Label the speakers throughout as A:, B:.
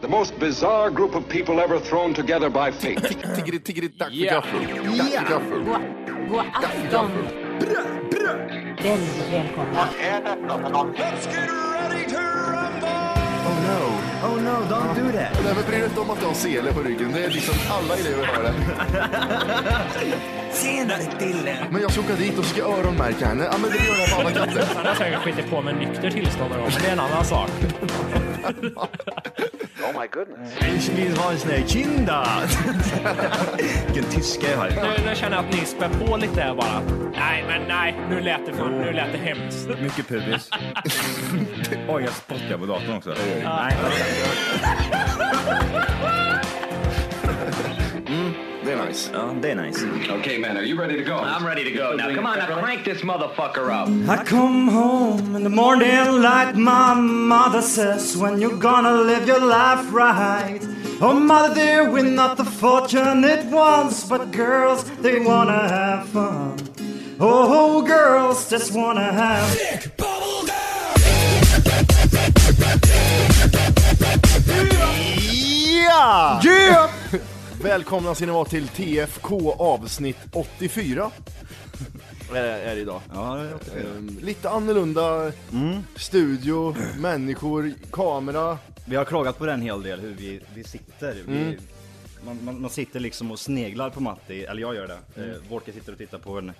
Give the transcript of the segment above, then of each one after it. A: The most bizarre group of people ever thrown together by fate.
B: Tiggeri, tiggeri, dags för
C: Ja.
B: gaffel. Dags för gaffel.
D: God, god afton. Väldigt välkomna.
B: Oh no.
E: Oh no, don't do that.
B: Nej, men bry dig inte om att du har sele på ryggen. Det är liksom alla elever har det.
E: Senare Dille.
B: Men jag ska åka dit och ska öronmärka henne. Ja, men det gör jag på alla katter.
C: Han har säkert skitit på med nykter tillstånd då, men det är en annan sak.
E: Ich will ha en kinda. Vilken tyska jag har.
C: Nu, nu känner jag att ni spär på lite här bara. Nej, men nej, nu lät det, för, nu lät det hemskt.
F: Mycket pubis. Oj, jag spottar på datorn också. Nej.
B: Det är nice.
F: Ja, det är nice.
A: okay, man, are you ready to go? I'm ready to go. Now, come on, now crank this motherfucker up.
E: I come home in the morning like my mother says when you're gonna live your life right. Oh mother dear, we're not the fortunate ones, but girls, they wanna have fun. Oh, girls just wanna have
B: Ja! Yeah! Välkomna ska ni vara till TFK avsnitt 84. Är det, är det idag. Mm.
F: Ja, ja.
B: Ehm, lite annorlunda studio, människor, kamera.
F: vi har klagat på den en hel del, hur vi, vi sitter.
B: Mm.
F: Vi, man, man, man sitter liksom och sneglar på Matti, eller jag gör det. Mm. Volker sitter och tittar på en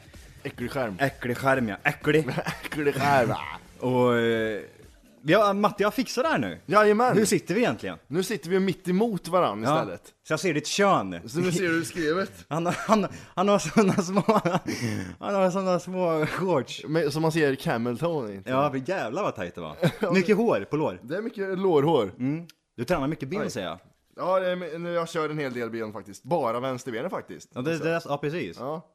B: Äcklig skärm.
F: äcklig skärm, ja. Äcklig.
B: Äcklig skärm.
F: och eh, vi har, Matti har fixat det här nu. Hur
B: Jajamän.
F: sitter vi egentligen?
B: Nu sitter vi mitt emot varandra
F: Ja.
B: istället.
F: Så jag ser ditt kön.
B: Så nu ser du skrevet.
F: Han, han, han har såna små, han har såna små shorts.
B: Men, som man ser camel toe i.
F: Ja, men jävlar vad tajt det var. Mycket hår på lår.
B: Det är mycket lårhår.
F: Du tränar mycket ben säger jag.
B: Ja, det är, men jag kör en hel del ben faktiskt. Bara vänsterbenen faktiskt.
F: Ja, det, det, ja precis.
B: Ja.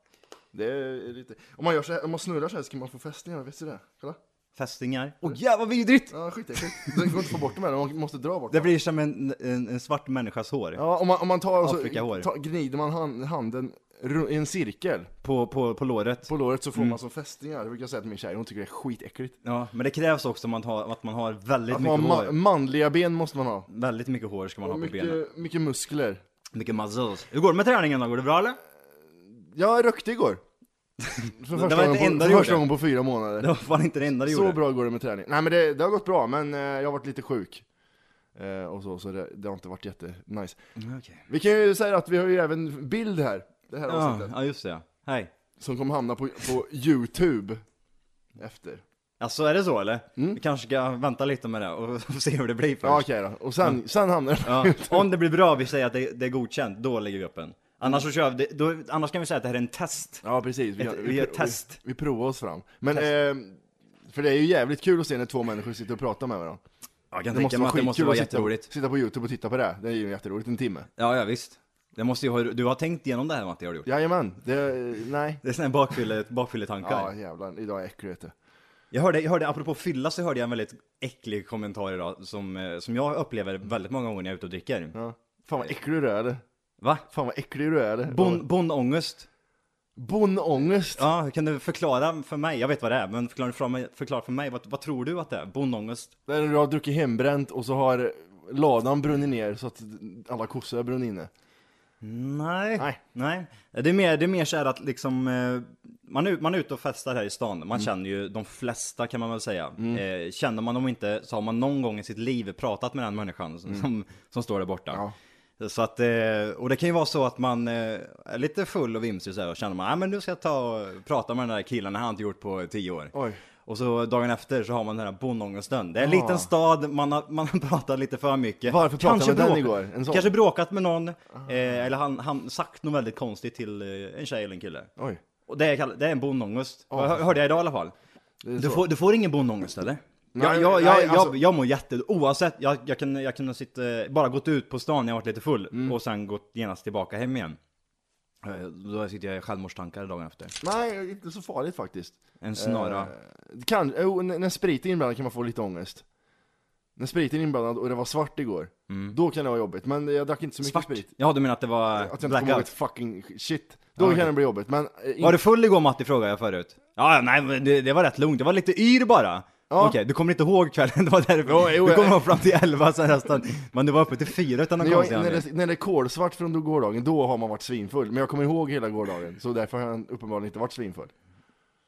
B: Det är lite... Om man, gör så här, om man snurrar så här så kan man få fästingar, vet du det? Kolla.
F: Fästingar. Åh jävlar vad vidrigt!
B: Ja, skit i det, skit. Det går inte att få bort dem här, man måste dra bort
F: Det
B: dem.
F: blir som en, en, en svart människas hår.
B: Ja, om man, om man tar och så
F: Afrikahår.
B: ta, gnider man hand, handen ru- i en cirkel
F: På, på, på låret.
B: på låret så får man som fästingar. Det brukar jag säga till min tjej, hon tycker det är skitäckligt.
F: Ja, men det krävs också att man har, att man har väldigt
B: Att man,
F: mycket
B: ma-
F: hår.
B: manliga ben måste man ha.
F: Väldigt mycket hår ska man ha
B: Och
F: på benen.
B: mycket, mycket muskler.
F: Mycket muscles. Hur går det med träningen då? Går det bra eller?
B: Jag rökte igår. För
F: var
B: första,
F: inte
B: gången,
F: enda
B: på,
F: du
B: för första
F: gjorde.
B: gången på fyra månader.
F: Det var fan inte det enda du gjorde.
B: Så bra går det med träning. Nej men det, det har gått bra, men eh, jag har varit lite sjuk. Eh, och så, så det, det har inte varit jätte nice.
F: Mm, okej.
B: Vi kan ju säga att vi har ju även bild här, det här
F: Ja,
B: avsnittet.
F: ja, just det. ja. Hej.
B: Som kommer hamna på, på Youtube efter.
F: Alltså är det så eller? Vi kanske ska vänta lite med det och se hur det blir först.
B: Ja okej då, och sen, sen hamnar det
F: Ja, om det blir bra, vi säger att det, det är godkänt, då lägger vi upp en. Annars så kör vi, det- då, annars kan vi säga att det här är en test.
B: Ja precis,
F: Ett- vi gör test.
B: Vi, vi provar oss fram. Men, eh, för det är ju jävligt kul att se när två människor sitter och pratar med varandra.
F: Ja, jag kan
B: Det måste vara
F: att det måste
B: skitkul
F: vara
B: att sitta,
F: jätteroligt.
B: sitta på Youtube och titta på det. Det är ju jätteroligt, en timme.
F: Ja, ja visst. Det måste ju ha, du har tänkt igenom det här Matti, har du gjort?
B: Jajamän, det, nej.
F: Det är sådana här bakfylle, bakfylletankar.
B: Ja jävlar, idag är jag äcklig vet du.
F: Jag hörde, jag hörde, apropå fylla så hörde jag en väldigt äcklig kommentar idag som, eh, som jag upplever väldigt många gånger när jag är ute och dricker.
B: Ja. Fan vad äcklig du är eller?
F: Va?
B: Fan vad äcklig du är eller?
F: Bon, bondångest.
B: Bonnångest?
F: Ja, kan du förklara för mig? Jag vet vad det är, men förklara för mig, förklara för mig vad, vad tror du att det är? Bondångest?
B: Där du har druckit hembränt och så har ladan brunnit ner så att alla kossor har brunnit inne.
F: Nej.
B: Nej.
F: Nej. Det är mer, det är mer så här att liksom, eh, man är, man är ute och festar här i stan. Man känner ju de flesta kan man väl säga. Eh, Känner man dem inte så har man någon gång i sitt liv pratat med den människan som, som, som står där borta. Så att, eh, och det kan ju vara så att man eh, är lite full och vimsig så här och känner man, "Ah, men nu ska jag ta och prata med den där killen, han har inte gjort på tio år.
B: Oj.
F: Och så dagen efter så har man den här bondångesten. Det är en liten stad, man har, man har pratat lite för mycket.
B: Varför pratade
F: Kanske
B: man med den
F: bråkat-
B: igår? En sån? Ah.
F: Kanske bråkat med någon, eh, eller han, han sagt något väldigt konstigt till eh, en tjej eller en kille.
B: Oj.
F: Och det är, kall- det är en bondångest. Hör, hörde jag idag i alla fall. Du får, du får ingen bondångest eller?
B: Nej,
F: jag, jag,
B: nej,
F: jag,
B: alltså-
F: jag, jag mår jätte... Oavsett, jag, jag kan, jag kunde sitta, bara gått ut på stan när jag varit lite full
B: Mm.
F: och sen gått genast tillbaka hem igen. Eh, Då sitter jag i självmordstankar dagen efter.
B: Nej, inte så farligt faktiskt.
F: En snara.
B: Eh, Kan, jo, när när spriten är inblandad kan man få lite ångest. När spriten är inblandad och det var svart igår, då kan det vara jobbigt. Men jag drack inte så mycket
F: Mm. Svart?
B: sprit.
F: Ja, du menar att det var
B: Att jag inte kommer ihåg ett
F: blackout?
B: fucking shit. Då kan det bli jobbigt. Men eh, in-
F: Var du full igår Matti frågade jag förut? Ja, ja, nej men det, det var rätt lugnt, jag var lite yr bara.
B: Ja.
F: Okej, du kommer inte ihåg kvällen, det var därför.
B: Jo, jo,
F: du kommer
B: jag-
F: ihåg fram till elva sen resten. Men du var uppe till fyra utan någon
B: När, jag,
F: konstig
B: när,
F: anledning.
B: det, när det är kolsvart från gårdagen, då har man varit svinfull. Men jag kommer ihåg hela gårdagen, så därför har jag uppenbarligen inte varit svinfull.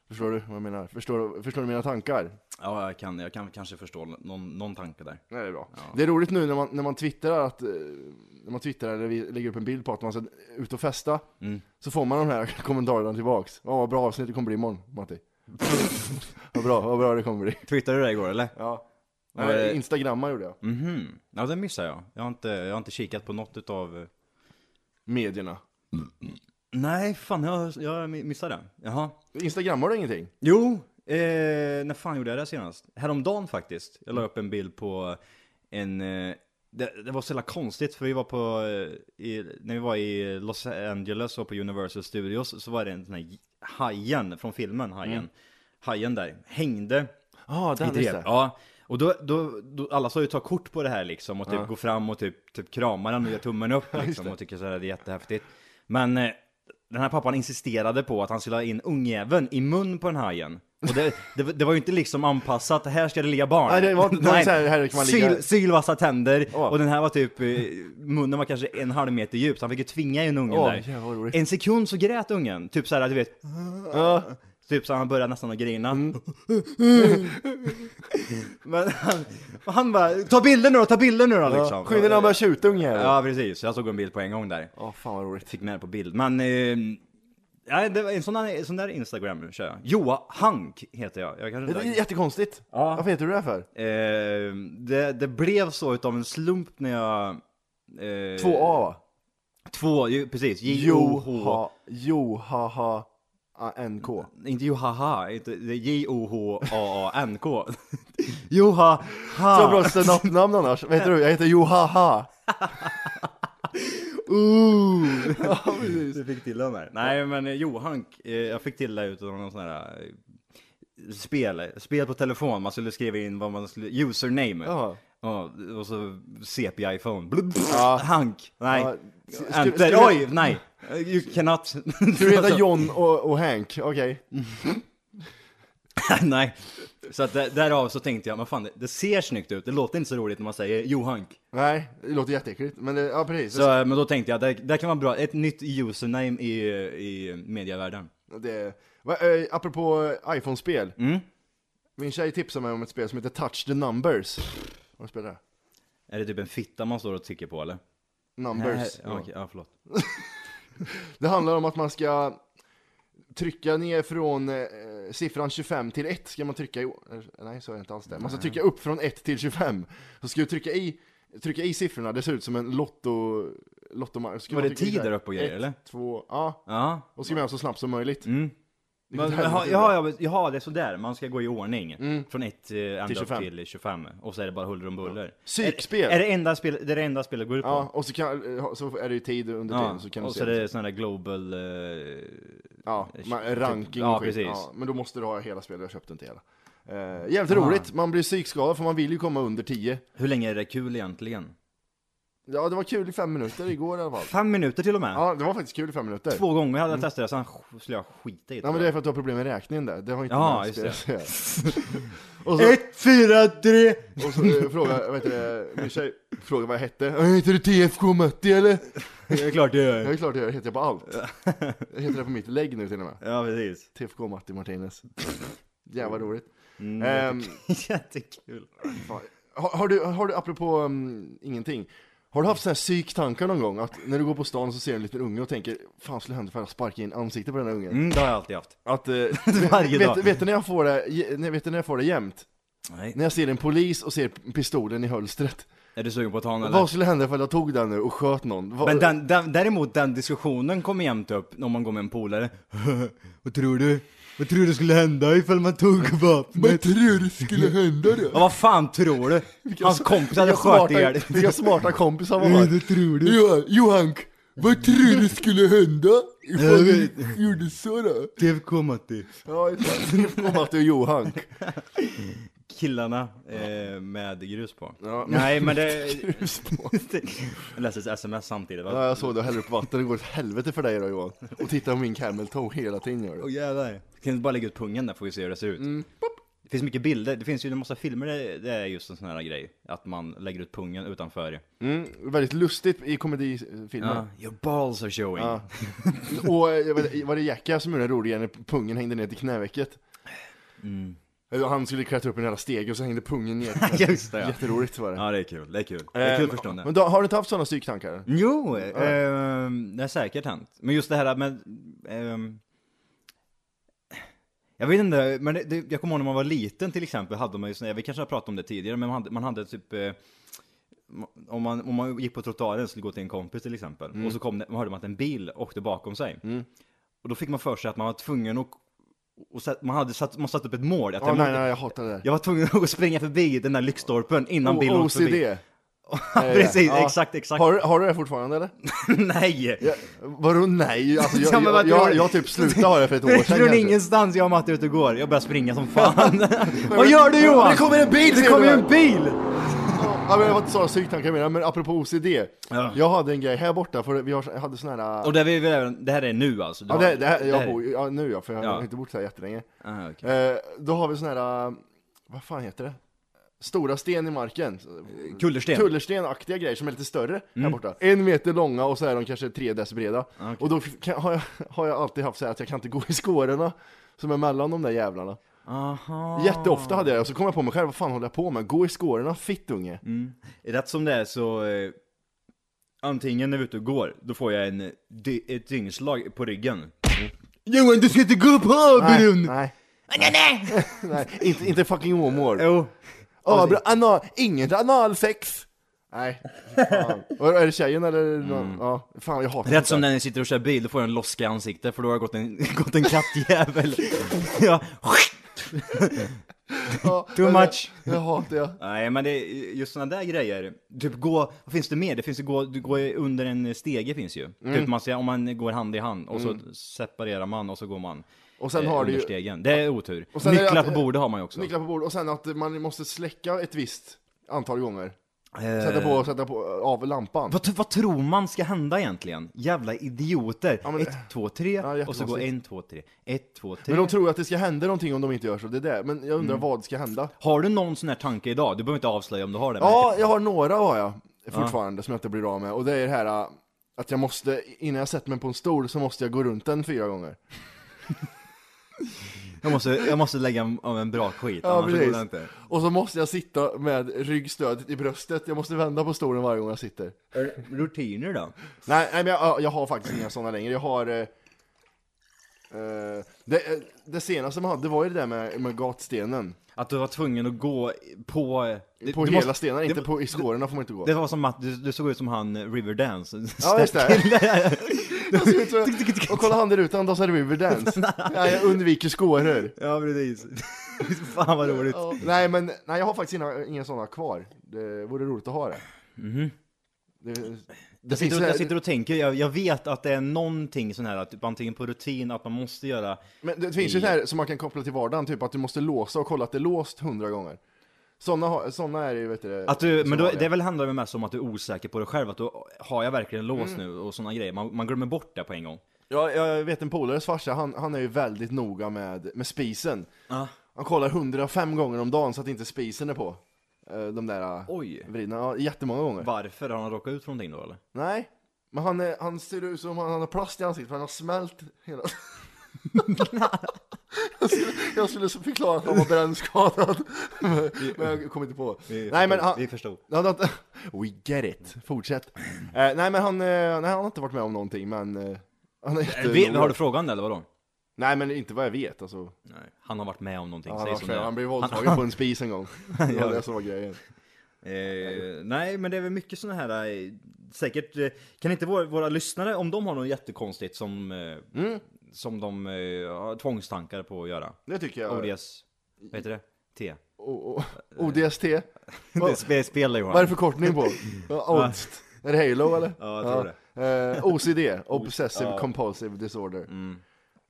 B: Förstår du vad jag menar? Förstår, förstår du mina tankar?
F: Ja, jag kan, jag kan kanske förstå någon, någon tanke där.
B: Nej, det är bra. Det är roligt nu när man, när man twittrar att, eh, när man twittrar eller vi lägger upp en bild på att man ska ut och festa, så får man de här kommentarerna tillbaks. Ja, vad bra avsnitt det kommer bli imorgon, Matti. vad bra, vad bra det kommer bli.
F: Twittrade du det igår eller?
B: Ja.
F: Vad är
B: Nej, Mm.
F: det?
B: Instagramma gjorde jag.
F: Mhm. Ja, det missar jag. Jag har inte, jag har inte kikat på något utav...
B: Medierna.
F: Nej, fan jag, jag missade det. Jaha.
B: Instagrammar du ingenting?
F: Jo, eh, när fan gjorde jag det senast? Häromdagen faktiskt. Jag la upp en bild på en... Eh, det, det var så jävla konstigt för vi var på... Eh, i, när vi var i Los Angeles och på Universal Studios så var det en sån här j- hajen från filmen Hajen. Hajen där hängde
B: Ja,
F: i
B: där,
F: drev.
B: just det.
F: Ja. Och då, då, då, alla sa ju ta kort på det här liksom och typ gå fram och typ, typ krama den och ge tummen upp liksom och tycker så här det är jättehäftigt. Men eh, den här pappan insisterade på att han skulle ha in ungjäveln i mun på den hajen. Och det, det, det var ju inte liksom anpassat, här ska det ligga barn.
B: Nej, det var inte- det var så här, här kan man ligga.
F: Syl, sylvassa tänder
B: Åh.
F: och den här var typ, eh, munnen var kanske en halv meter djup så han fick ju tvinga in ungen
B: Åh,
F: där.
B: jävlar vad roligt.
F: En sekund så grät ungen, typ så här du vet, typ så han började nästan att grina.
B: Mm.
F: Men han, och han bara, ta bilder nu då, ta bilder nu då liksom.
B: Ja, Skynda dig börjar tjuta ungjävel. Ja.
F: Ja precis, jag såg en bild på en gång där.
B: fan vad roligt.
F: Fick med det på bild. Men, eh, nej, det var en sån där, sån där Instagram kör jag. Joa Hank heter jag. jag kanske
B: Det
F: inte
B: är jättekonstigt.
F: Ja.
B: Varför heter du det för?
F: eh, det, det blev så utav en slump när jag... Eh,
B: Två A va?
F: Två, ju, precis. J-O-H.
B: Joha, Johaha, A, NK.
F: Inte Johaha, inte, det är J-O-H-A-A-N-K. Joha,
B: Så
F: ha.
B: bra standup-namn annars. Vad heter du? Jag heter Johaha.
F: Ooh. ja, precis. Du fick till den där. Nej, men eh, Johank, eh, jag fick till det utav någon sån här eh, spel, spel på telefon. Man skulle skriva in vad man skulle, username.
B: Ja.
F: Ja, och så sepia iPhone. Blub,
B: Ja.
F: Hank. Nej.
B: Ja.
F: Ja.
B: Ska-
F: Enter.
B: ska-
F: Oj, nej. You cannot.
B: Du
F: Alltså.
B: heter John och, och Hank, okej.
F: nej. Så att där- därav så tänkte jag, men fan, det- det ser snyggt ut. Det låter inte så roligt när man säger Johank.
B: Nej, det låter jätteäckligt. Men det, ja precis.
F: Så, eh, men då tänkte jag, det, det kan vara bra. Ett nytt username i, i medievärlden.
B: Det, va, eh, apropå eh, iPhone-spel.
F: Mm.
B: Min tjej tipsade mig om ett spel som heter Touch the Numbers. Har du spelat det?
F: Är det typ en fitta man står och trycker på eller?
B: Numbers.
F: Ja, okej, ja, förlåt.
B: Det handlar om att man ska trycka ner från eh, siffran 25 till 1 ska man trycka i, eh, nej så är det inte alls det. Man ska trycka upp från 1 till 25. Så ska du trycka i, trycka i siffrorna, det ser ut som en lotto, lotto
F: Var det tid där uppe och grejer, eller?
B: Två, ja.
F: Ja.
B: Och ska man göra så snabbt som möjligt.
F: Mm.
B: Det är
F: Men,
B: ett
F: men,
B: helvete.
F: ja, ja, ja, det är sådär. Man ska gå i ordning. Från 1 ända
B: Mm. Till
F: till
B: 25.
F: till 25. Och så är det bara huller om buller.
B: Psykspel.
F: Är, är det, enda spel, det är det enda spelet går ut på?
B: Ja, och så, kan, eh, så är det ju tid under
F: Ja,
B: tiden så kan du
F: och
B: se.
F: så är det sån där global... eh,
B: Ja, man, ranking
F: Ja,
B: och skit.
F: precis.
B: Ja, men då måste du ha hela spelet, jag köpte inte hela. Eh, jävligt
F: Ah.
B: roligt, man blir psykskadad för man vill ju komma under 10.
F: hur länge är det kul egentligen?
B: Ja, det var kul i fem minuter igår i alla fall.
F: Fem minuter till och med?
B: Ja, det var faktiskt kul i fem minuter.
F: Två gånger hade jag testat det, sen sk- skulle jag skita i
B: Ja, men det är för att du har problem med räkningen där. Det har inte
F: Ja,
B: med
F: just
B: spel att göra. och så,
F: Ett, fyra, tre!
B: och så eh, frågade, vet du, min tjej frågade vad jag hette. "Äh, Heter du TFK Matti eller?
F: Det är klart det
B: Ja,
F: gör.
B: det är klart jag gör. heter jag på allt. Jag heter det på mitt lägg nu till och med.
F: Ja, precis.
B: TFK Matti Martinez. Jävla roligt.
F: Mm,
B: Ehm,
F: Jättekul.
B: Fan. Har, har, du, har du, apropå um, ingenting, har du haft sådana här psyktankar någon gång? Att när du går på stan så ser du en liten unge och tänker, fan skulle hända för att sparka in ansiktet på den här ungen?
F: Mm, det har jag alltid haft.
B: Att, eh,
F: Varje dag.
B: vet, vet, du när jag får det, ge- nej, vet du när jag får det jämt?
F: Nej.
B: När jag ser en polis och ser pistolen i hölstret.
F: Är du sugen på att ta en eller?
B: Vad skulle hända ifall jag tog den nu och sköt någon? Vad-
F: Men den, den, däremot den diskussionen kommer jämt upp när man går med en polare. Vad tror du? Vad tror du skulle hända ifall man tog
B: Vad
F: vapnet?
B: tror du skulle hända då?
F: Ja, vad fan tror du? Hans kompis hade
B: Vilka
F: sköt
B: smarta,
F: ihjäl dig.
B: vilka smarta kompisar man har.
F: tror
B: Johan, Johank, vad tror du skulle hända ifall vi gjorde så då?
F: Det kom att det.
B: Ja, just det. Det kommer att du är Johank.
F: Killarna eh, med grus på.
B: Ja.
F: Nej men det...
B: Grus på.
F: jag läste ett sms samtidigt va?
B: Ja, jag såg det och häller upp vatten, det går åt helvete för dig då Johan. Och titta på min camel toe hela tiden gör
F: Åh
B: du. Mm.
F: jävlar. Kan du bara lägga ut pungen där får vi se hur det ser ut. Det finns mycket bilder, det finns ju en massa filmer där det är just en sån här grej. Att man lägger ut pungen utanför. Ah,
B: Mm, väldigt lustigt i komedifilmer.
F: Your balls are showing.
B: Ja. Och eh, jag vet- var det Jacka som gjorde en rolig grej när pungen hängde ner till knävecket? Eller Han skulle klättra upp en jävla steg och så hängde pungen ner.
F: just det Mm. ja.
B: Jätteroligt var det.
F: Ja det är kul, det är kul. Det
B: Eh,
F: är kul förstående.
B: Men då, har du inte haft sådana psyktankar?
F: Jo, ehm, det har säkert hänt. Men just det här med... ehm, jag vet inte, men det, det, jag kommer ihåg när man var liten till exempel, hade man ju såna, vi kanske har pratat om det tidigare, men man hade, man hade typ... eh, om man, om man gick på trottoaren och skulle gå till en kompis till exempel,
B: Mm.
F: och så kom det, man hörde man att en bil åkte bakom sig. Och då fick man för sig att man var tvungen att... Och satt, man, hade satt, man satt upp ett mål. Att
B: Åh
F: jag,
B: nej, nej, jag hatar det där.
F: jag var tvungen att springa förbi den där lyktstolpen innan
B: O-
F: bilen åkte
B: OCD.
F: förbi.
B: är det.
F: Precis,
B: Ja.
F: exakt, exakt.
B: Har, du- har du det fortfarande eller?
F: Nej!
B: Ja, vadå nej? Alltså, jag,
F: Ja, men
B: jag,
F: vad tror
B: jag,
F: du?
B: jag typ slutade ha det för ett år sedan
F: Från
B: kanske.
F: ingenstans, jag och Matte är ute och går. Jag börjar springa som fan. Vad gör du Johan?
B: Det kommer en bil,
F: Det
B: ser
F: kommer
B: du
F: ju
B: väl?
F: en bil!
B: Ja, men jag var inte sådana psyktankar jag menar, men apropå OCD. Jag hade en grej här borta, för vi har, hade sån här...
F: Och det, vi, det här är nu alltså? Du
B: ja,
F: har-
B: det, det här,
F: det
B: jag
F: här är-
B: bor ja, nu ja, för jag har
F: Ja.
B: inte bott så här jättelänge.
F: Ah, okej.
B: Eh, då har vi sån här, eh, vad fan heter det? Stora sten Mm. i marken.
F: Kullersten?
B: Kullerstenaktiga grejer som är lite större här borta. En meter långa och så är de kanske tre dess breda. Och då kan, har, jag, har jag alltid haft så här att jag kan inte gå i skårorna som är mellan de där jävlarna.
F: Aha.
B: Jätteofta hade jag det, och så kom jag på mig själv, vad fan håller jag på med? Gå i skårorna, fittunge.
F: Rätt som det är så... Eh, antingen när vi är ute och går, då får jag en, dy, ett dyngslag på ryggen. Johan, du ska inte gå på
B: Nej,
F: Abrun!
B: nej. nej, inte, inte fucking Åmål.
F: Jo.
B: Oh, bra, anal, inget analsex! Nej, fan. Och Är det tjejen eller någon? Ja, fan jag hatar
F: Mm.
B: sånt
F: Rätt som
B: där.
F: när ni sitter och kör bil, då får jag en loska i ansiktet för då har det gått en, gått en kattjävel. ja.
B: Ja,
F: Too
B: jag-
F: much.
B: Jag hatar det.
F: Nej men det är just sådana där grejer, typ gå, vad finns det mer? Det finns ju gå, du går under en stege finns ju.
B: Mm.
F: Typ man ser, om man går hand i hand och så separerar man och så går man
B: Och Mm. sen
F: eh,
B: har
F: under
B: du ju
F: stegen. Det är otur.
B: Och sen är det
F: Nycklar
B: att-
F: på bordet har man ju också.
B: nycklar på bordet och sen att man måste släcka ett visst antal gånger.
F: Eh,
B: Sätta på, sätta på av lampan.
F: vad, vad tror man ska hända egentligen? Jävla idioter!
B: men det-
F: ett, två, tre, och så går
B: jättekonstigt.
F: en, två, tre, ett, två, tre.
B: Men de tror att det ska hända någonting om de inte gör så, det är det. Men jag undrar
F: Mm.
B: vad ska hända?
F: Har du någon sån här tanke idag? Du behöver inte avslöja om du har det. men-
B: Ja, jag har några har jag fortfarande som jag inte blir av med. Och det är det här äh, att jag måste, innan jag sätter mig på en stol så måste jag gå runt den fyra gånger.
F: Jag, måste, jag måste lägga av en bra skit, annars så går det inte.
B: Och så måste jag sitta med ryggstödet i bröstet. Jag måste vända på stolen varje gång jag sitter.
F: Rutiner då?
B: Nej, nej men jag, jag har faktiskt inga sådana längre. Jag har... Eh, eh, det, eh, det senaste man hade det var ju det där med, med gatstenen.
F: Att du var tvungen att gå på... det-
B: På
F: du
B: hela
F: måste-
B: stenen,
F: det-
B: inte på, i skårorna får man inte gå.
F: Det var som att du, du såg ut som han eh, Riverdance.
B: Ja, just det. Jag ser ut så- och kolla han där ute, han dansar Riverdance. Nej, jag undviker skåror.
F: ja, precis. Fan vad roligt.
B: Ja, nej, men nej, jag har faktiskt inga, inga sådana kvar. Det vore roligt att ha det. Det, det
F: Mhm. Jag
B: finns,
F: sitter, och, jag sitter och tänker, jag, jag vet att det är någonting sån här, typ antingen på rutin, att man måste göra...
B: men det
F: Mm.
B: finns ju det här som man kan koppla till vardagen, typ att du måste låsa och kolla att det är låst hundra gånger. Sådana, såna är det ju, vet du.
F: Att du, men då,
B: som-
F: det väl handlar väl mest om att du är osäker på dig själv, att du, har jag verkligen låst
B: Mm.
F: nu? Och såna grejer. Man, man glömmer bort det på en gång.
B: Ja, jag vet en polares farsa, han, han är ju väldigt noga med, med spisen. Han kollar 105 gånger om dagen så att inte spisen är på. Eh, De där eh,
F: Oj.
B: vridna, ja, jättemånga gånger.
F: Varför? Har han råkat ut för någonting då eller?
B: Nej, men han, är, han ser ut som han, han har plast i ansiktet för han har smält hela... jag, skulle, jag skulle så förklara att han var brännskadad, men, men jag kom inte på. Nej, men han,
F: Vi förstod.
B: han har inte- We get it, fortsätt. Eh, nej men han, eh, nej, han har inte varit med om någonting men... eh, han är
F: Vi,
B: jättenoga.
F: har du frågan eller vadå?
B: Nej men inte vad jag vet alltså.
F: Nej. Han har varit med om någonting,
B: Ja,
F: säg
B: Han,
F: som
B: var-
F: det är.
B: han blev våldtagen på en spis en gång. Det var
F: Ja.
B: det som var grejen.
F: Eh, nej, men det är väl mycket sådana här, eh, säkert, eh, kan inte våra, våra lyssnare, om de har något jättekonstigt som, eh, som de eh, har tvångstankar på att göra?
B: Det tycker jag.
F: ODS, vad heter det? T?
B: O- o- ODST.
F: Det spe- spelar
B: Vad är det
F: Johan.
B: för kortning på? Odds. Är det Halo eller? Eh,
F: Ja, jag tror
B: det. OCD, Obsessive Compulsive Disorder.
F: Mm.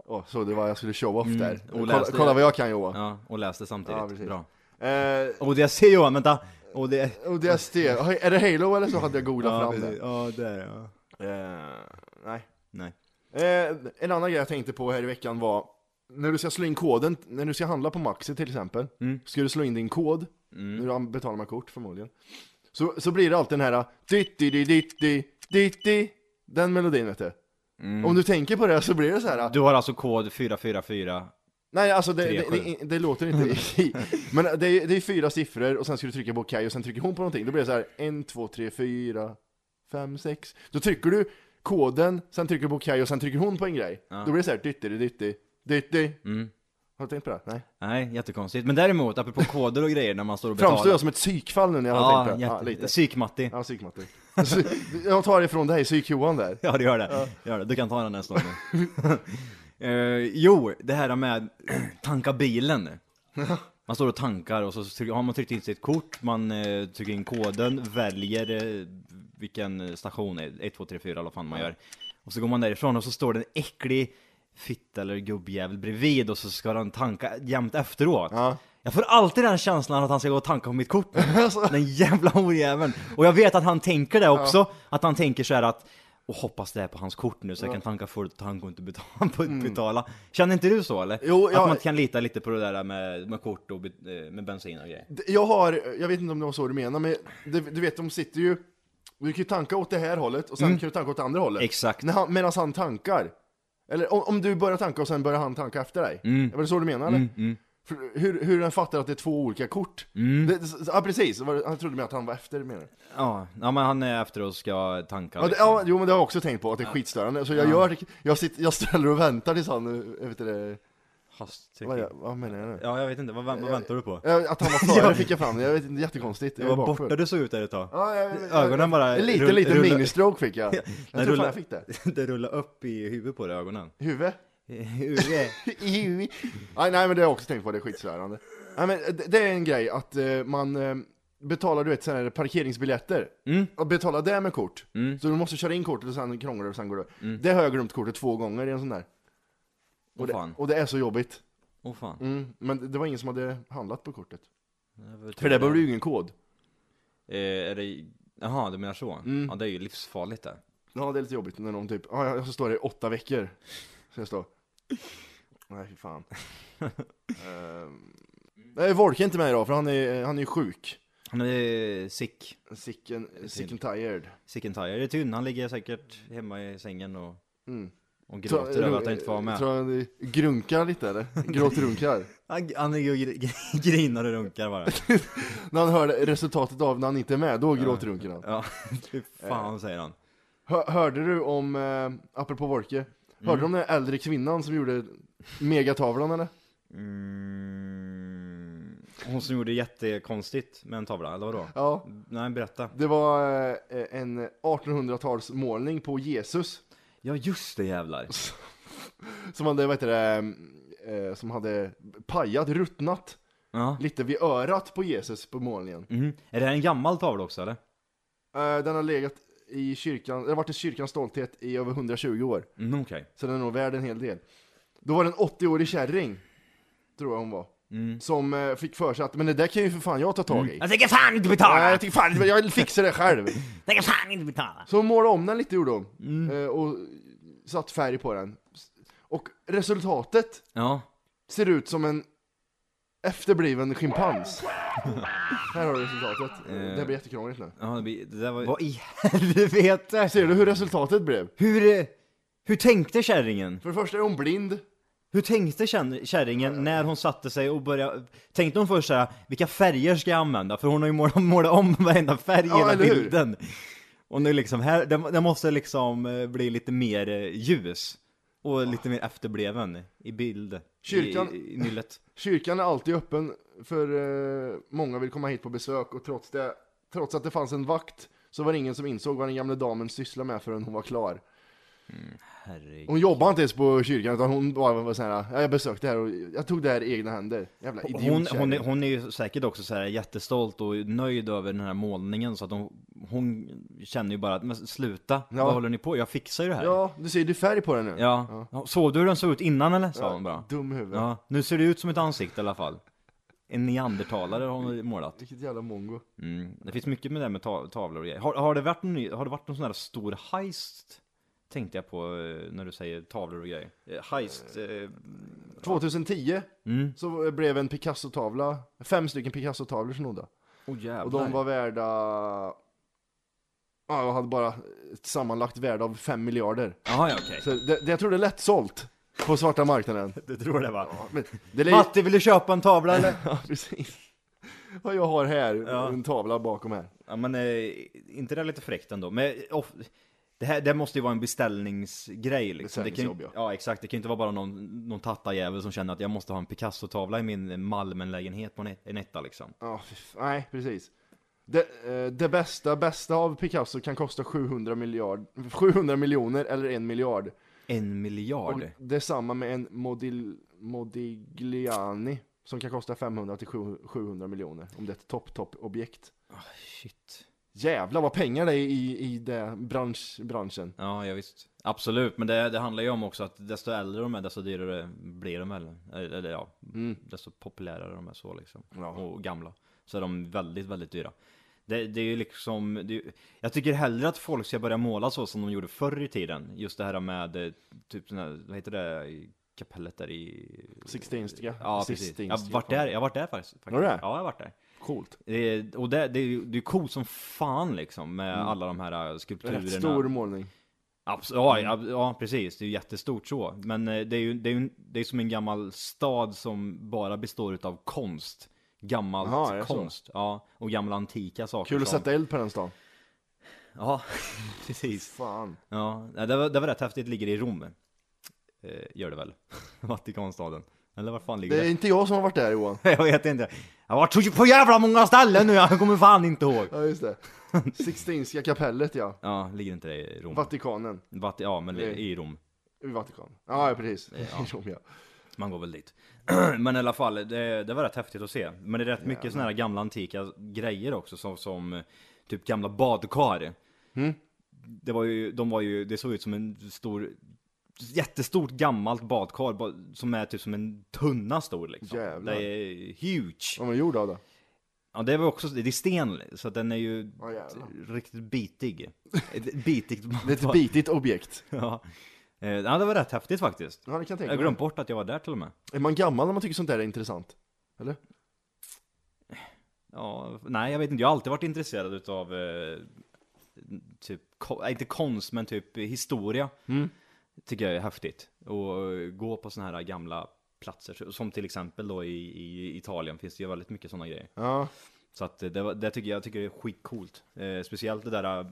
B: Åh, så det var jag skulle show off där. Kolla,
F: läste-
B: kolla vad jag kan Johan.
F: Ja, och läs det samtidigt.
B: Ja, precis.
F: Bra.
B: Eh,
F: ODS, Johan, vänta! ODS...
B: ODST, är det Halo eller så hade jag googlat
F: Ja,
B: fram det.
F: precis. ja, det är det, ja.
B: Eh, nej.
F: Nej.
B: Eh, en annan grej jag tänkte på här i veckan var när du ska slå in koden, när du ska handla på Maxi till exempel, ska du slå in din kod, när du betalar med kort förmodligen, så, så blir det alltid den här ditt di di ditt di ditt di den melodin vet du. Om du tänker på det så blir det så här. eh,
F: Du har alltså kod 444.
B: Nej, alltså det,
F: Tre,
B: det,
F: sju.
B: det, det låter inte i. Men det är, det är fyra siffror och sen ska du trycka på okej och sen trycker hon på någonting. Då blir det så här 1, 2, 3, 4, 5, 6. Då trycker du koden, sen trycker du på okej och sen trycker hon på en grej. Då blir det så här dytti, dytti, dytti.
F: Mm.
B: Har du tänkt på det? Nej.
F: Nej, jättekonstigt. Men däremot, apropå koder och grejer när man står och betalar.
B: Framstår jag som ett psykfall nu när jag har
F: Ja,
B: tänkt på det?
F: jätte...
B: Ja, lite.
F: Psykmatti.
B: Ja, psykmatte. Psy- jag tar ifrån dig, psyk-Johan där.
F: Ja, det gör det. Gör det. Du kan ta den nästa gång. Eh, jo, det här med tanka bilen. Man står och tankar och så tryck- har man tryckt in sitt kort, man eh, trycker in koden, väljer eh, vilken station, 1, 2, 3, 4 eller vad fan man gör. Och så går man därifrån och så står det en äcklig fitta eller gubbjävel bredvid och så ska den tanka jämt efteråt.
B: Ja.
F: Jag får alltid den känslan att han ska gå och tanka på mitt kort nu. Den jävla horjäveln. Och jag vet att han tänker det också. Att han tänker så här att och hoppas det är på hans kort nu så jag kan tanka fullt och tanka och inte betala. på- betala. Känner inte du så eller?
B: Jo, jag-
F: Att man kan lita lite på det där med, med kort och be- eh, med bensin och grejer.
B: D- Jag har, jag vet inte om det var så du menar, men det, du vet de sitter ju Du kan ju tanka åt det här hållet och sen kan du tanka åt det andra hållet
F: Mm. Exakt.
B: När han, Medan han tankar Eller om, om du börjar tanka och sen börjar han tanka efter dig
F: Mm.
B: Var det så du menar eller? För, hur, hur den fattar att det är två olika kort?
F: Mm.
B: Det, ja precis, Var det- han trodde med att han var efter menar du?
F: Ja, ja men han är efter och ska tanka.
B: Ja, det,
F: liksom.
B: ja, jo men det har jag också tänkt på, att det är skitstörande Så jag gör, jag, sitter, jag ställer och väntar tills han, eh, vet du det,
F: Hasttryck.
B: vad, jag- vad menar jag nu?
F: Ja, jag vet inte. Vad, vad väntar du på?
B: Eh, Att han var före fick jag fram det, jag vet inte, jättekonstigt
F: Det var
B: bakfull.
F: borta du såg ut där ett tag.
B: Ja, jag-
F: Ögonen bara
B: En liten,
F: rull-
B: liten
F: rullar-
B: ministroke fick jag. Jag tror fan jag fick det.
F: det rullade upp i huvudet på dig, ögonen.
B: Huvud? I huvud. Nej, nej, men det har jag också tänkt på, det är skitstörande. Nej, men det- det är en grej att eh, man eh, betalar, du vet, sådana här parkeringsbiljetter. Och betalar det med kort.
F: Mm.
B: Så du måste köra in kortet och sen krånglar det och sen går du. Det har jag glömt kortet två gånger i en sån där.
F: Åh
B: det,
F: fan.
B: och det är så jobbigt.
F: Åh fan.
B: Mm. Men det var ingen som hade handlat på kortet.
F: Jag var
B: För
F: tvungen.
B: det behöver du ju ingen kod.
F: Eh, är det... Jaha, du menar så?
B: Mm.
F: Ja, det är ju livsfarligt det.
B: Ja, det är lite jobbigt när någon typ, ja, jag så står det i åtta veckor. Så jag står. Nej, fy fan. Ehm, Nej, Volke är inte med idag för han är, han är ju sjuk.
F: Han är sick,
B: Sick and, sick and tired.
F: sick and tired. Det är tynn, han ligger säkert hemma i sängen och,
B: Mm.
F: och gråter över att han inte får vara med.
B: Tror han grunkar lite eller? Gråtrunkar.
F: Han, han är ju och gr- grinar och runkar bara.
B: när han hör resultatet av när han inte är med, då gråtrunkar han.
F: Ja, fy fan säger han.
B: Hör, hörde du om, eh, apropå Volke, hörde du om den äldre kvinnan som gjorde megatavlan eller?
F: Mm. Hon som gjorde jättekonstigt med en tavla, eller vadå?
B: Ja.
F: Nej, berätta.
B: Det var eh, en 1800-talsmålning på Jesus.
F: Ja, just det jävlar.
B: Som hade, vad heter det, eh, som hade pajat, ruttnat
F: Ja.
B: lite vid örat på Jesus på målningen.
F: Mhm. Är det här en gammal tavla också eller?
B: Eh, Den har legat i kyrkan, det har varit i kyrkans stolthet i över 120 år.
F: Mm, Okej.
B: Så den är nog värd en hel del. Då var det en 80-årig kärring, tror jag hon var. Som eh, fick för sig att, men det där kan ju för fan jag ta tag i.
F: Mm.
C: Jag tänker fan inte
B: Nej,
C: betala!
B: jag tycker fan, jag fixar det själv.
C: Jag tänker fan inte betala!
B: Så hon målade om den lite gjorde hon. Eh, Och satt färg på den. Och resultatet
F: Ja.
B: ser ut som en efterbliven schimpans. Här har du resultatet. Det här blir jättekrångligt nu.
F: ja, det blir- det där var Vad i helvete!
B: Ser du hur resultatet blev?
F: Hur, eh, hur tänkte kärringen?
B: För det första är hon blind.
F: Hur tänkte kärn- kärringen när hon satte sig och började... Tänkte hon först såhär, vilka färger ska jag använda? För hon har ju målat, målat om varenda färg i
B: Ja,
F: hela
B: eller hur?
F: bilden. Och nu liksom, här, det, det måste liksom eh, bli lite mer eh, ljus. Och lite mer efterbliven i bild.
B: Kyrkan-
F: I, i, i nyllet.
B: Kyrkan är alltid öppen för eh, många vill komma hit på besök och trots det, trots att det fanns en vakt så var det ingen som insåg vad den gamla damen sysslade med förrän hon var klar.
F: Mm, Herregud.
B: Hon jobbade inte ens på kyrkan utan hon bara var såhär, "Ja, jag besökte det här och jag tog det här i egna händer. Jävla
F: Hon,
B: idiot
F: hon, hon, är, hon är ju säkert också så här jättestolt och nöjd över den här målningen så att hon, hon känner ju bara att men sluta, vad håller ni på Jag fixar ju det här.
B: Ja, du ser ju det är färg på den nu.
F: Ja. ja. Såg du hur den såg ut innan eller? Sa hon bara.
B: Dum huvud.
F: Ja. Nu ser det ut som ett ansikte i alla fall. En neandertalare har hon målat.
B: Vilket jävla mongo.
F: Mm. Det finns mycket med det här med ta- tavlor och grejer. Har, har, det varit någon, ny- har det varit någon sån här stor heist tänkte jag på eh, när du säger tavlor och grejer. Eh, Heist, eh,
B: 2010
F: Mm.
B: så blev en Picasso-tavla, fem stycken Picasso-tavlor snodda.
F: oh,
B: Och de var värda, ja jag hade bara ett sammanlagt värde av 5 miljarder.
F: Jaha, ja, okej.
B: Så det, det, jag tror det är lätt sålt på svarta marknaden.
F: Du tror det va?
B: Men det är
F: Matti, vill du köpa en tavla eller?
B: ja, precis. Vad jag har här, en tavla bakom här.
F: Ja men eh, inte det lite fräckt ändå? Men eh, of, det här det måste ju vara en beställningsgrej liksom. Det kan, ju-
B: Beställningsjobb,
F: ja exakt, det kan ju inte vara bara någon, någon tattarjävel som känner att jag måste ha en Picasso-tavla i min eh, Malmenlägenhet på en et- en etta liksom.
B: Ja, fy f- nej, precis. Det, eh, det bästa, bästa av Picasso kan kosta 700, miljard, 700 miljoner eller en miljard.
F: En
B: Och
F: miljard?
B: det är samma med en modil, Modigliani som kan kosta 500 till 700 miljoner om det är ett topp, topp objekt.
F: Shit.
B: Jävlar vad pengar det är i, i det bransch, branschen.
F: Ja, ja visst. Absolut, men det, det handlar ju om också att desto äldre de är desto dyrare blir de eller, eller ja,
B: Mm.
F: desto populärare de är så liksom. Och gamla. Så är de väldigt, väldigt dyra. Det, det är ju liksom, det är, ju- jag tycker hellre att folk ska börja måla så som de gjorde förr i tiden. Just det här med eh, typ sån här, vad heter det, i kapellet där i...
B: Sixtinska.
F: Ja, precis. Jag har varit där, jag har varit där faktiskt. faktiskt.
B: Har du det?
F: Ja, jag har varit där.
B: Coolt.
F: Det är- Och det, det är ju det är coolt som fan liksom med alla de här eh, skulpturerna.
B: Mm. Rätt stor målning.
F: Abs- ja,
B: Mm.
F: ja, ja, precis. Det är ju jättestort så. Men eh, det är ju det är ju, det är som en gammal stad som bara består av konst. Gammalt
B: Jaha, är det så?
F: konst. Ja, och gamla antika saker.
B: Kul att
F: som-
B: sätta eld på den stan.
F: Ja, precis.
B: Fan.
F: Ja, nej, det var, det var rätt häftigt. Ligger i Rom. Eh, gör det väl? Vatikanstaden. Eller var fan ligger
B: Det är
F: det?
B: inte jag som har varit där Johan.
F: Jag vet inte. Jag har varit så på jävla många ställen nu, jag kommer fan inte ihåg.
B: Ja, just det. Sixtinska kapellet ja.
F: Ja, ligger inte det i Rom?
B: Vatikanen.
F: Vat- ja, men
B: Nej.
F: i Rom.
B: I Vatikan. Ja, ja, precis. I Rom, ja.
F: Man går väl dit. Men i alla fall, det, det var rätt häftigt att se. Men det är rätt mycket sådana här gamla antika grejer också som, som eh, typ gamla badkar.
B: Mm.
F: Det var ju, de var ju, det såg ut som en stor, jättestort gammalt badkar ba- som är typ som en tunna stor liksom.
B: Jävlar.
F: Det är huge.
B: Vad man gjord av det.
F: Ja det var också, det är sten så att den är ju
B: Ja, jävlar.
F: riktigt bitig. Ett bitigt
B: Det är ett bitigt objekt.
F: ja. Eh, ja det var rätt häftigt faktiskt.
B: Ja, det kan jag tänka
F: Jag glömde
B: mig.
F: bort att jag var där till och med.
B: Är man gammal när man tycker sånt där är intressant? Eller?
F: Ja, nej jag vet inte, jag har alltid varit intresserad utav eh, typ, ko- nej, inte konst men typ historia. Tycker jag är häftigt. Och eh, gå på såna här gamla platser, som till exempel då i, i Italien finns det ju väldigt mycket sådana grejer.
B: Ja.
F: Så att eh, det, var, det tycker jag, jag tycker det är skitcoolt. Eh, speciellt det där eh,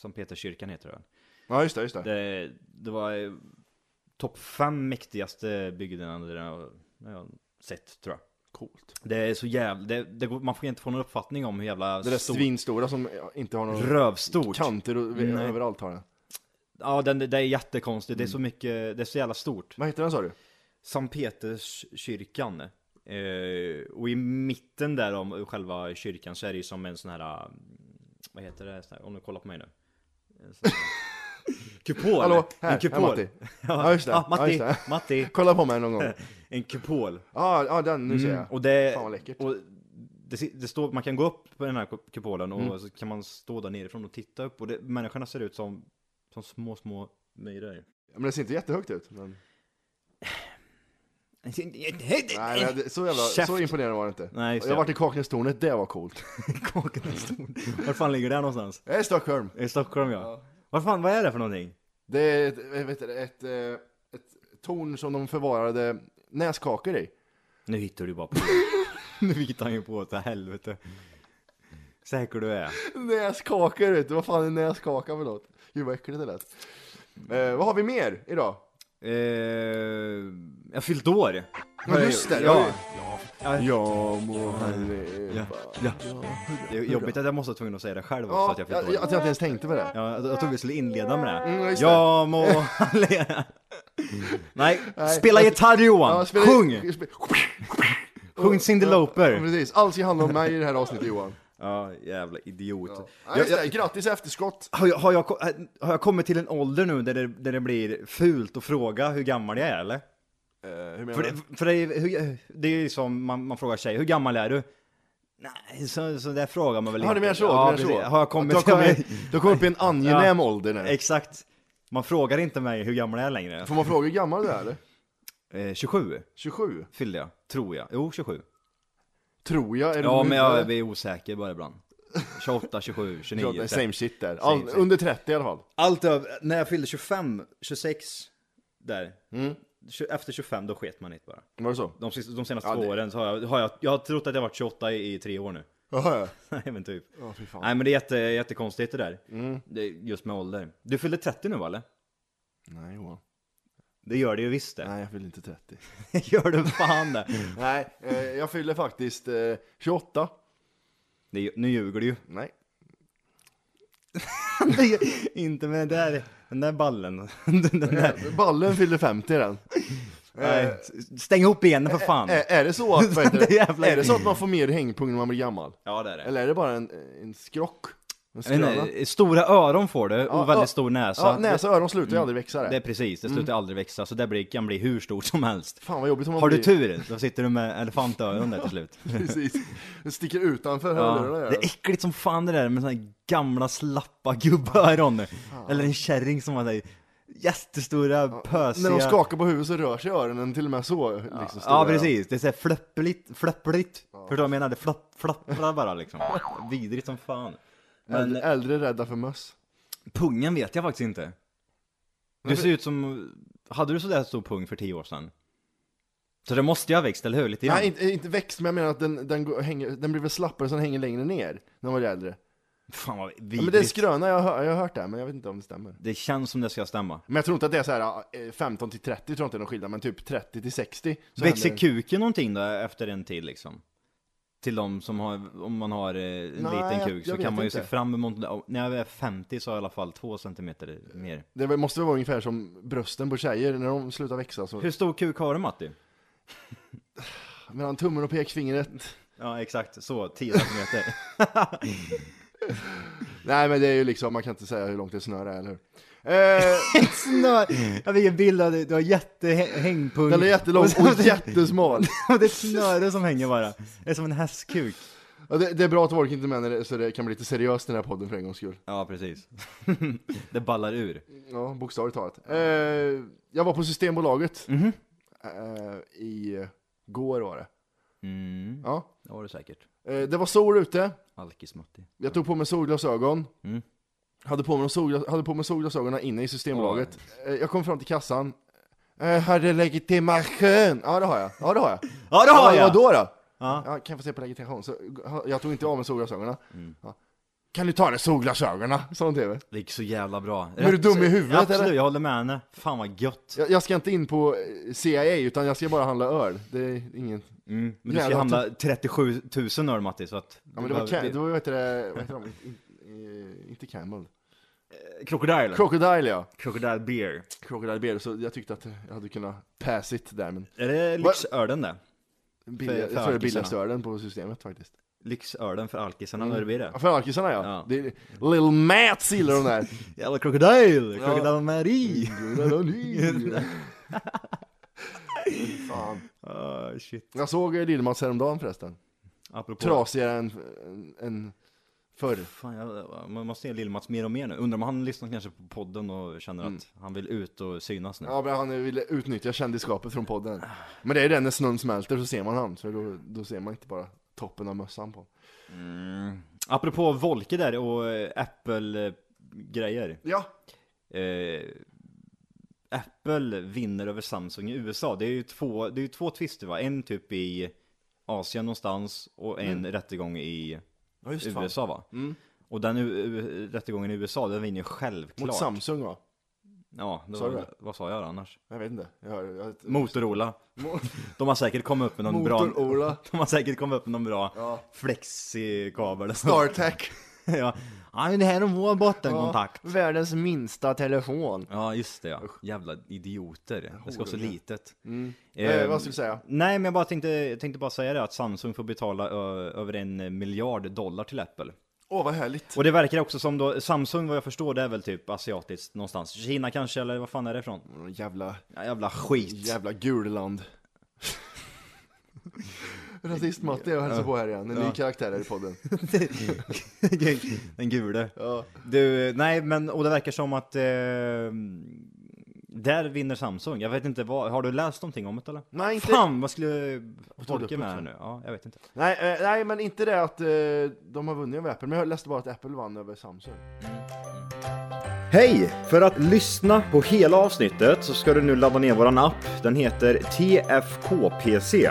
F: som Peterskyrkan heter det. väl?
B: Ja, just det, just det.
F: Det, det var eh, topp fem mäktigaste byggnaderna jag- jag har sett tror jag.
B: Coolt.
F: Det är så jävla, det, det, går- man får inte få någon uppfattning om hur jävla
B: Det där
F: stor-
B: svinstora som ja, inte har några
F: rövstort.
B: kanter och,
F: Nej.
B: överallt har den.
F: Ja, den, det är jättekonstigt. Det är så
B: Mm.
F: mycket, det är så jävla stort.
B: Vad heter den sa du?
F: Sankt Peterskyrkan. Eh, och i mitten där om själva kyrkan så är det ju som en sån här, eh, vad heter det, sån här, om du kollar på mig nu. En sån här- Kupol!
B: Hallå, här,
F: en
B: här
F: kupol.
B: Matti. Ja, just det.
F: Ah,
B: Ja,
F: Matti,
B: just det.
F: Matti,
B: Kolla på mig någon gång.
F: en kupol.
B: Ja, ja den, nu ser jag.
F: Mm, Och det,
B: Fan vad läckert.
F: Och det, si- det står, man kan gå upp på den här ku- kupolen
B: Mm.
F: och så kan man stå där nerifrån och titta upp och det, människorna ser ut som, som små, små myror.
B: Men det ser inte jättehögt ut. Men... Nej, men
F: Nej,
B: det, så jävla, så
F: Käft.
B: imponerande var det inte.
F: Nej, just
B: jag har
F: det.
B: varit i Kaknästornet, det var coolt.
F: Var fan ligger det någonstans?
B: Det är Stockholm.
F: I Stockholm ja. Vad fan, vad är det för någonting?
B: Det är ett, jag vet, inte, ett, eh, ett torn som de förvarade näskakor i.
F: Nu hittar du bara på. nu hittar han ju på åt helvete. Säker du är.
B: Näskakor vet du, vad fan är näskaka för något? Gud vad äckligt det lät. Eh, vad har vi mer idag?
F: Eh, jag har fyllt år.
B: Ja just det,
F: Ja.
B: ja. Jag må han leva.
F: Ja. Det är jobbigt att jag måste vara tvungen att säga det själv också
B: Ja,
F: att jag fyllt
B: jag,
F: år.
B: jag, att jag inte ens tänkte på det.
F: Ja, jag, jag trodde vi skulle inleda med det.
B: Mm, just det.
F: jag må leva. Nej, spela gitarr Johan!
B: Ja, spela-
F: Sjung!
B: spe-
F: Sjung Cyndi
B: Ja,
F: Lauper!
B: precis, allt ska handla om mig i det här avsnittet Johan.
F: Ja, jävla idiot.
B: Ja, just det, grattis efterskott!
F: Har jag, har, jag, ko- äh, har jag kommit till en ålder nu där det, där det blir fult att fråga hur gammal jag är eller?
B: Eh, hur menar
F: För det, för det, är, hur, det är ju som man, man frågar tjej, hur gammal är du? Nej, så, så där frågar man väl
B: Ja, du menar så? du
F: Ja,
B: menar
F: precis.
B: så.
F: Har jag kommit...
B: Du har kommit, du har kommit upp i en angenäm ålder nu.
F: Exakt. Man frågar inte mig hur gammal jag är längre.
B: Får man fråga hur gammal du är eller?
F: Eh, 27
B: 27?
F: fyllde jag, tror jag. Jo, 27.
B: Tror jag. Är
F: Ja,
B: du
F: men jag
B: vet
F: blir osäker bara ibland. 28, 27, 29.
B: inte.
F: 30.
B: Same shit där.
F: Same
B: All,
F: shit.
B: under 30 i alla fall.
F: Allt över, när jag fyllde 25, 26, där. Tju- Efter 25 då sket man i det bara.
B: Var det så?
F: De, sista, de senaste
B: Ja,
F: två
B: det-
F: åren så har jag, har jag, jag har trott att jag varit 28 i, i tre år nu.
B: Jaha, ja.
F: Nej men typ.
B: Ja, fy fan.
F: Nej men det är jätte, jättekonstigt det där. Det, just med ålder. Du fyllde 30 nu va eller?
B: Nej, Johan.
F: Det gör det ju visst det.
B: Nej, jag fyller inte 30.
F: gör du fan det.
B: Nej, eh, jag fyller faktiskt eh, 28.
F: det är ju- nu ljuger du ju.
B: Nej.
F: Det är- Inte med den där, den där ballen. Den där.
B: Ballen fyller 50 den.
F: Nej, s- Stäng ihop benen för fan.
B: Är, är det så att, vad heter
F: Det är jävla-
B: det? Är det så att man får mer hängpung när man blir gammal?
F: Ja det är det.
B: Eller är det bara en, en skrock? En
F: Jag vet
B: skröna?
F: inte, eh, Stora öron får du och
B: Ja, ja.
F: väldigt stor näsa.
B: Ja, näsa och öron slutar ju aldrig växa
F: Det är
B: det.
F: precis, det slutar aldrig växa så det blir, kan bli hur stort som helst.
B: Fan vad jobbigt om man
F: Har du
B: blir...
F: tur, då sitter du med elefantöron där till slut.
B: Precis. Det sticker utanför hörlurarna.
F: Ja,
B: gör
F: det är
B: det.
F: äckligt som fan det där med såna här gamla slappa gubböron. Eller en kärring som har där jättestora pösiga...
B: När de skakar på huvudet så rör sig öronen till och med så. Liksom,
F: Ja
B: stora.
F: precis, det är såhär flöppeligt, flöppeligt. Förstår du vad jag menar? Det flapp, flapprar bara liksom. Vidrigt som fan. Men eh,
B: Äldre, äldre är rädda för möss.
F: pungen vet jag faktiskt inte. Du ser ut som, hade du sådär stor pung för tio år sedan? Så det måste jag ha växt, eller hur? Lite grann.
B: Nej, inte, inte växt, men jag menar att den, den, går, hänger, den blir väl slappare så den hänger längre ner när man är äldre.
F: Fan vad
B: Ja,
F: vidrigt.
B: men det är en skröna, jag har, jag har hört det, här, men jag vet inte om det stämmer.
F: Det känns som det ska stämma.
B: Men jag tror inte att det är så här eh, 15 till 30 tror jag inte är någon skillnad, men typ 30 till 60. så
F: Växer
B: händer det.
F: kuken någonting då efter en tid liksom? Till de som har, om man har eh, en
B: Nej,
F: liten
B: jag-
F: kuk så
B: jag
F: kan
B: vet
F: man ju
B: inte.
F: se fram emot, ja, när jag är 50 så har jag i alla fall två centimeter mer.
B: Det väl- måste väl vara ungefär som brösten på tjejer, när de slutar växa så...
F: Hur stor kuk har du Matti?
B: Mellan tummen och pekfingret.
F: Ja exakt, så, 10 centimeter.
B: Nej men det är ju liksom, man kan inte säga hur långt ett snöre är, eller hur? Eh,
F: Snör! Jag fick en bild av dig, du har jättehängpung.
B: den är jättelång och jättesmal.
F: Och det är ett snöre som hänger bara. Det är som en hästkuk.
B: Ja, det, det är bra att Volk inte är med när det, så det kan bli lite seriöst i den här podden för en gångs skull.
F: Ja precis. det ballar ur.
B: Ja, bokstavligt talat. Eh, jag var på Systembolaget.
F: Mhm.
B: Eh, I går var det.
F: Mm,
B: Ja.
F: det var det säkert.
B: Eh, det var sol ute.
F: Alkis-Matti.
B: Jag tog på mig solglasögon.
F: Mm.
B: Hade, på mig de solglas, hade på mig solglasögonen inne i Systembolaget. Eh, jag kom fram till kassan. Eh, har du legitimation? Ja det har jag. Ja det har jag.
F: Ja det har
B: Ja,
F: jag!
B: Vadå då?
F: Ja.
B: Ja, kan jag få se på legitimation? Så, ha- jag tog inte av mig solglasögonen. Ja. Kan du ta dig solglasögonen? Sa hon typ. till mig.
F: Det gick så jävla bra.
B: Men är du dum i huvudet,
F: Absolut,
B: eller?
F: jag håller med henne. Fan vad gött.
B: Jag, jag ska inte in på eh, CIA utan jag ska bara handla öl. Det är inget.
F: Mm. Men du ska
B: Jävlar,
F: handla 37 000 öl Matti, så att...
B: Ja, men det var, Cam- det var vad heter det, vad heter de? In, eh, inte Camel.
F: Crocodile.
B: Crocodile ja.
F: Crocodile beer.
B: Crocodile Beer, så jag tyckte att jag hade kunnat pass it där men.
F: Är det lyxölen det?
B: Billiga,
F: För-
B: jag tror
F: för
B: det är
F: alkisarna.
B: billigaste ölen på systemet faktiskt.
F: Lyxölen för alkisarna, mm. det blir det?
B: Ja, för alkisarna ja.
F: Ja.
B: Det är Little Mats gillar de där.
F: Jävla Crocodile! Crocodile Marie!
B: Fan.
F: Ah, shit.
B: Jag såg eh, Lill-Mats häromdagen förresten.
F: Apropå...
B: Trasigare än, än, än förr.
F: Fan, jag, man måste se Lill-Mats mer och mer nu. Undrar om han lyssnar kanske på podden och känner att han vill ut och synas nu.
B: Ja men han ville utnyttja kändisskapet från podden. Men det är det när snön smälter så ser man han. Så då, då ser man inte bara toppen av mössan på
F: Apropå Volke där och eh, Apple-grejer.
B: Ja,
F: eh, Apple vinner över Samsung i USA. Det är ju två, det är ju två tvister va? En typ i Asien någonstans och en rättegång i
B: ja just fan.
F: USA va? Och den u- u- rättegången i USA den vinner ju självklart.
B: Mot Samsung va?
F: Ja, det
B: Sa du
F: var,
B: det?
F: vad sa jag annars?
B: Jag vet inte. Jag, hör- jag,
F: Motorola. De har säkert kommit upp med någon bra...
B: Motor-Ola.
F: De har säkert kommit upp med någon bra flexikabel.
B: StarTech.
F: ja. ja, men det här är vår bottenkontakt.
B: Världens minsta telefon.
F: Ja just det ja, jävla idioter. Det ska vara så
B: horunge.
F: litet.
B: Eh, vad skulle du säga?
F: Nej men jag bara tänkte, jag tänkte bara säga det att Samsung får betala ö, över en miljard dollar till Apple.
B: Åh vad härligt.
F: Och det verkar också som då, Samsung vad jag förstår det är väl typ asiatiskt någonstans. Kina kanske eller vad fan är det ifrån?
B: Jävla,
F: Ja, jävla skit.
B: jävla gulland. Rasist-Matte är och hälsar på här igen, en ny karaktär här i podden.
F: Den gule.
B: Ja.
F: Du, nej men, och det verkar som att eh, där vinner Samsung. Jag vet inte vad, har du läst någonting om det eller?
B: Nej, inte-
F: Fan, vad skulle jag
B: du upp
F: tolka med
B: det
F: här
B: för?
F: nu? Ja, jag vet inte.
B: Nej, eh, nej, men inte det att eh, de har vunnit över Apple, men jag läste bara att Apple vann över Samsung.
F: Hej! För att lyssna på hela avsnittet så ska du nu ladda ner våran app. Den heter TFKPC.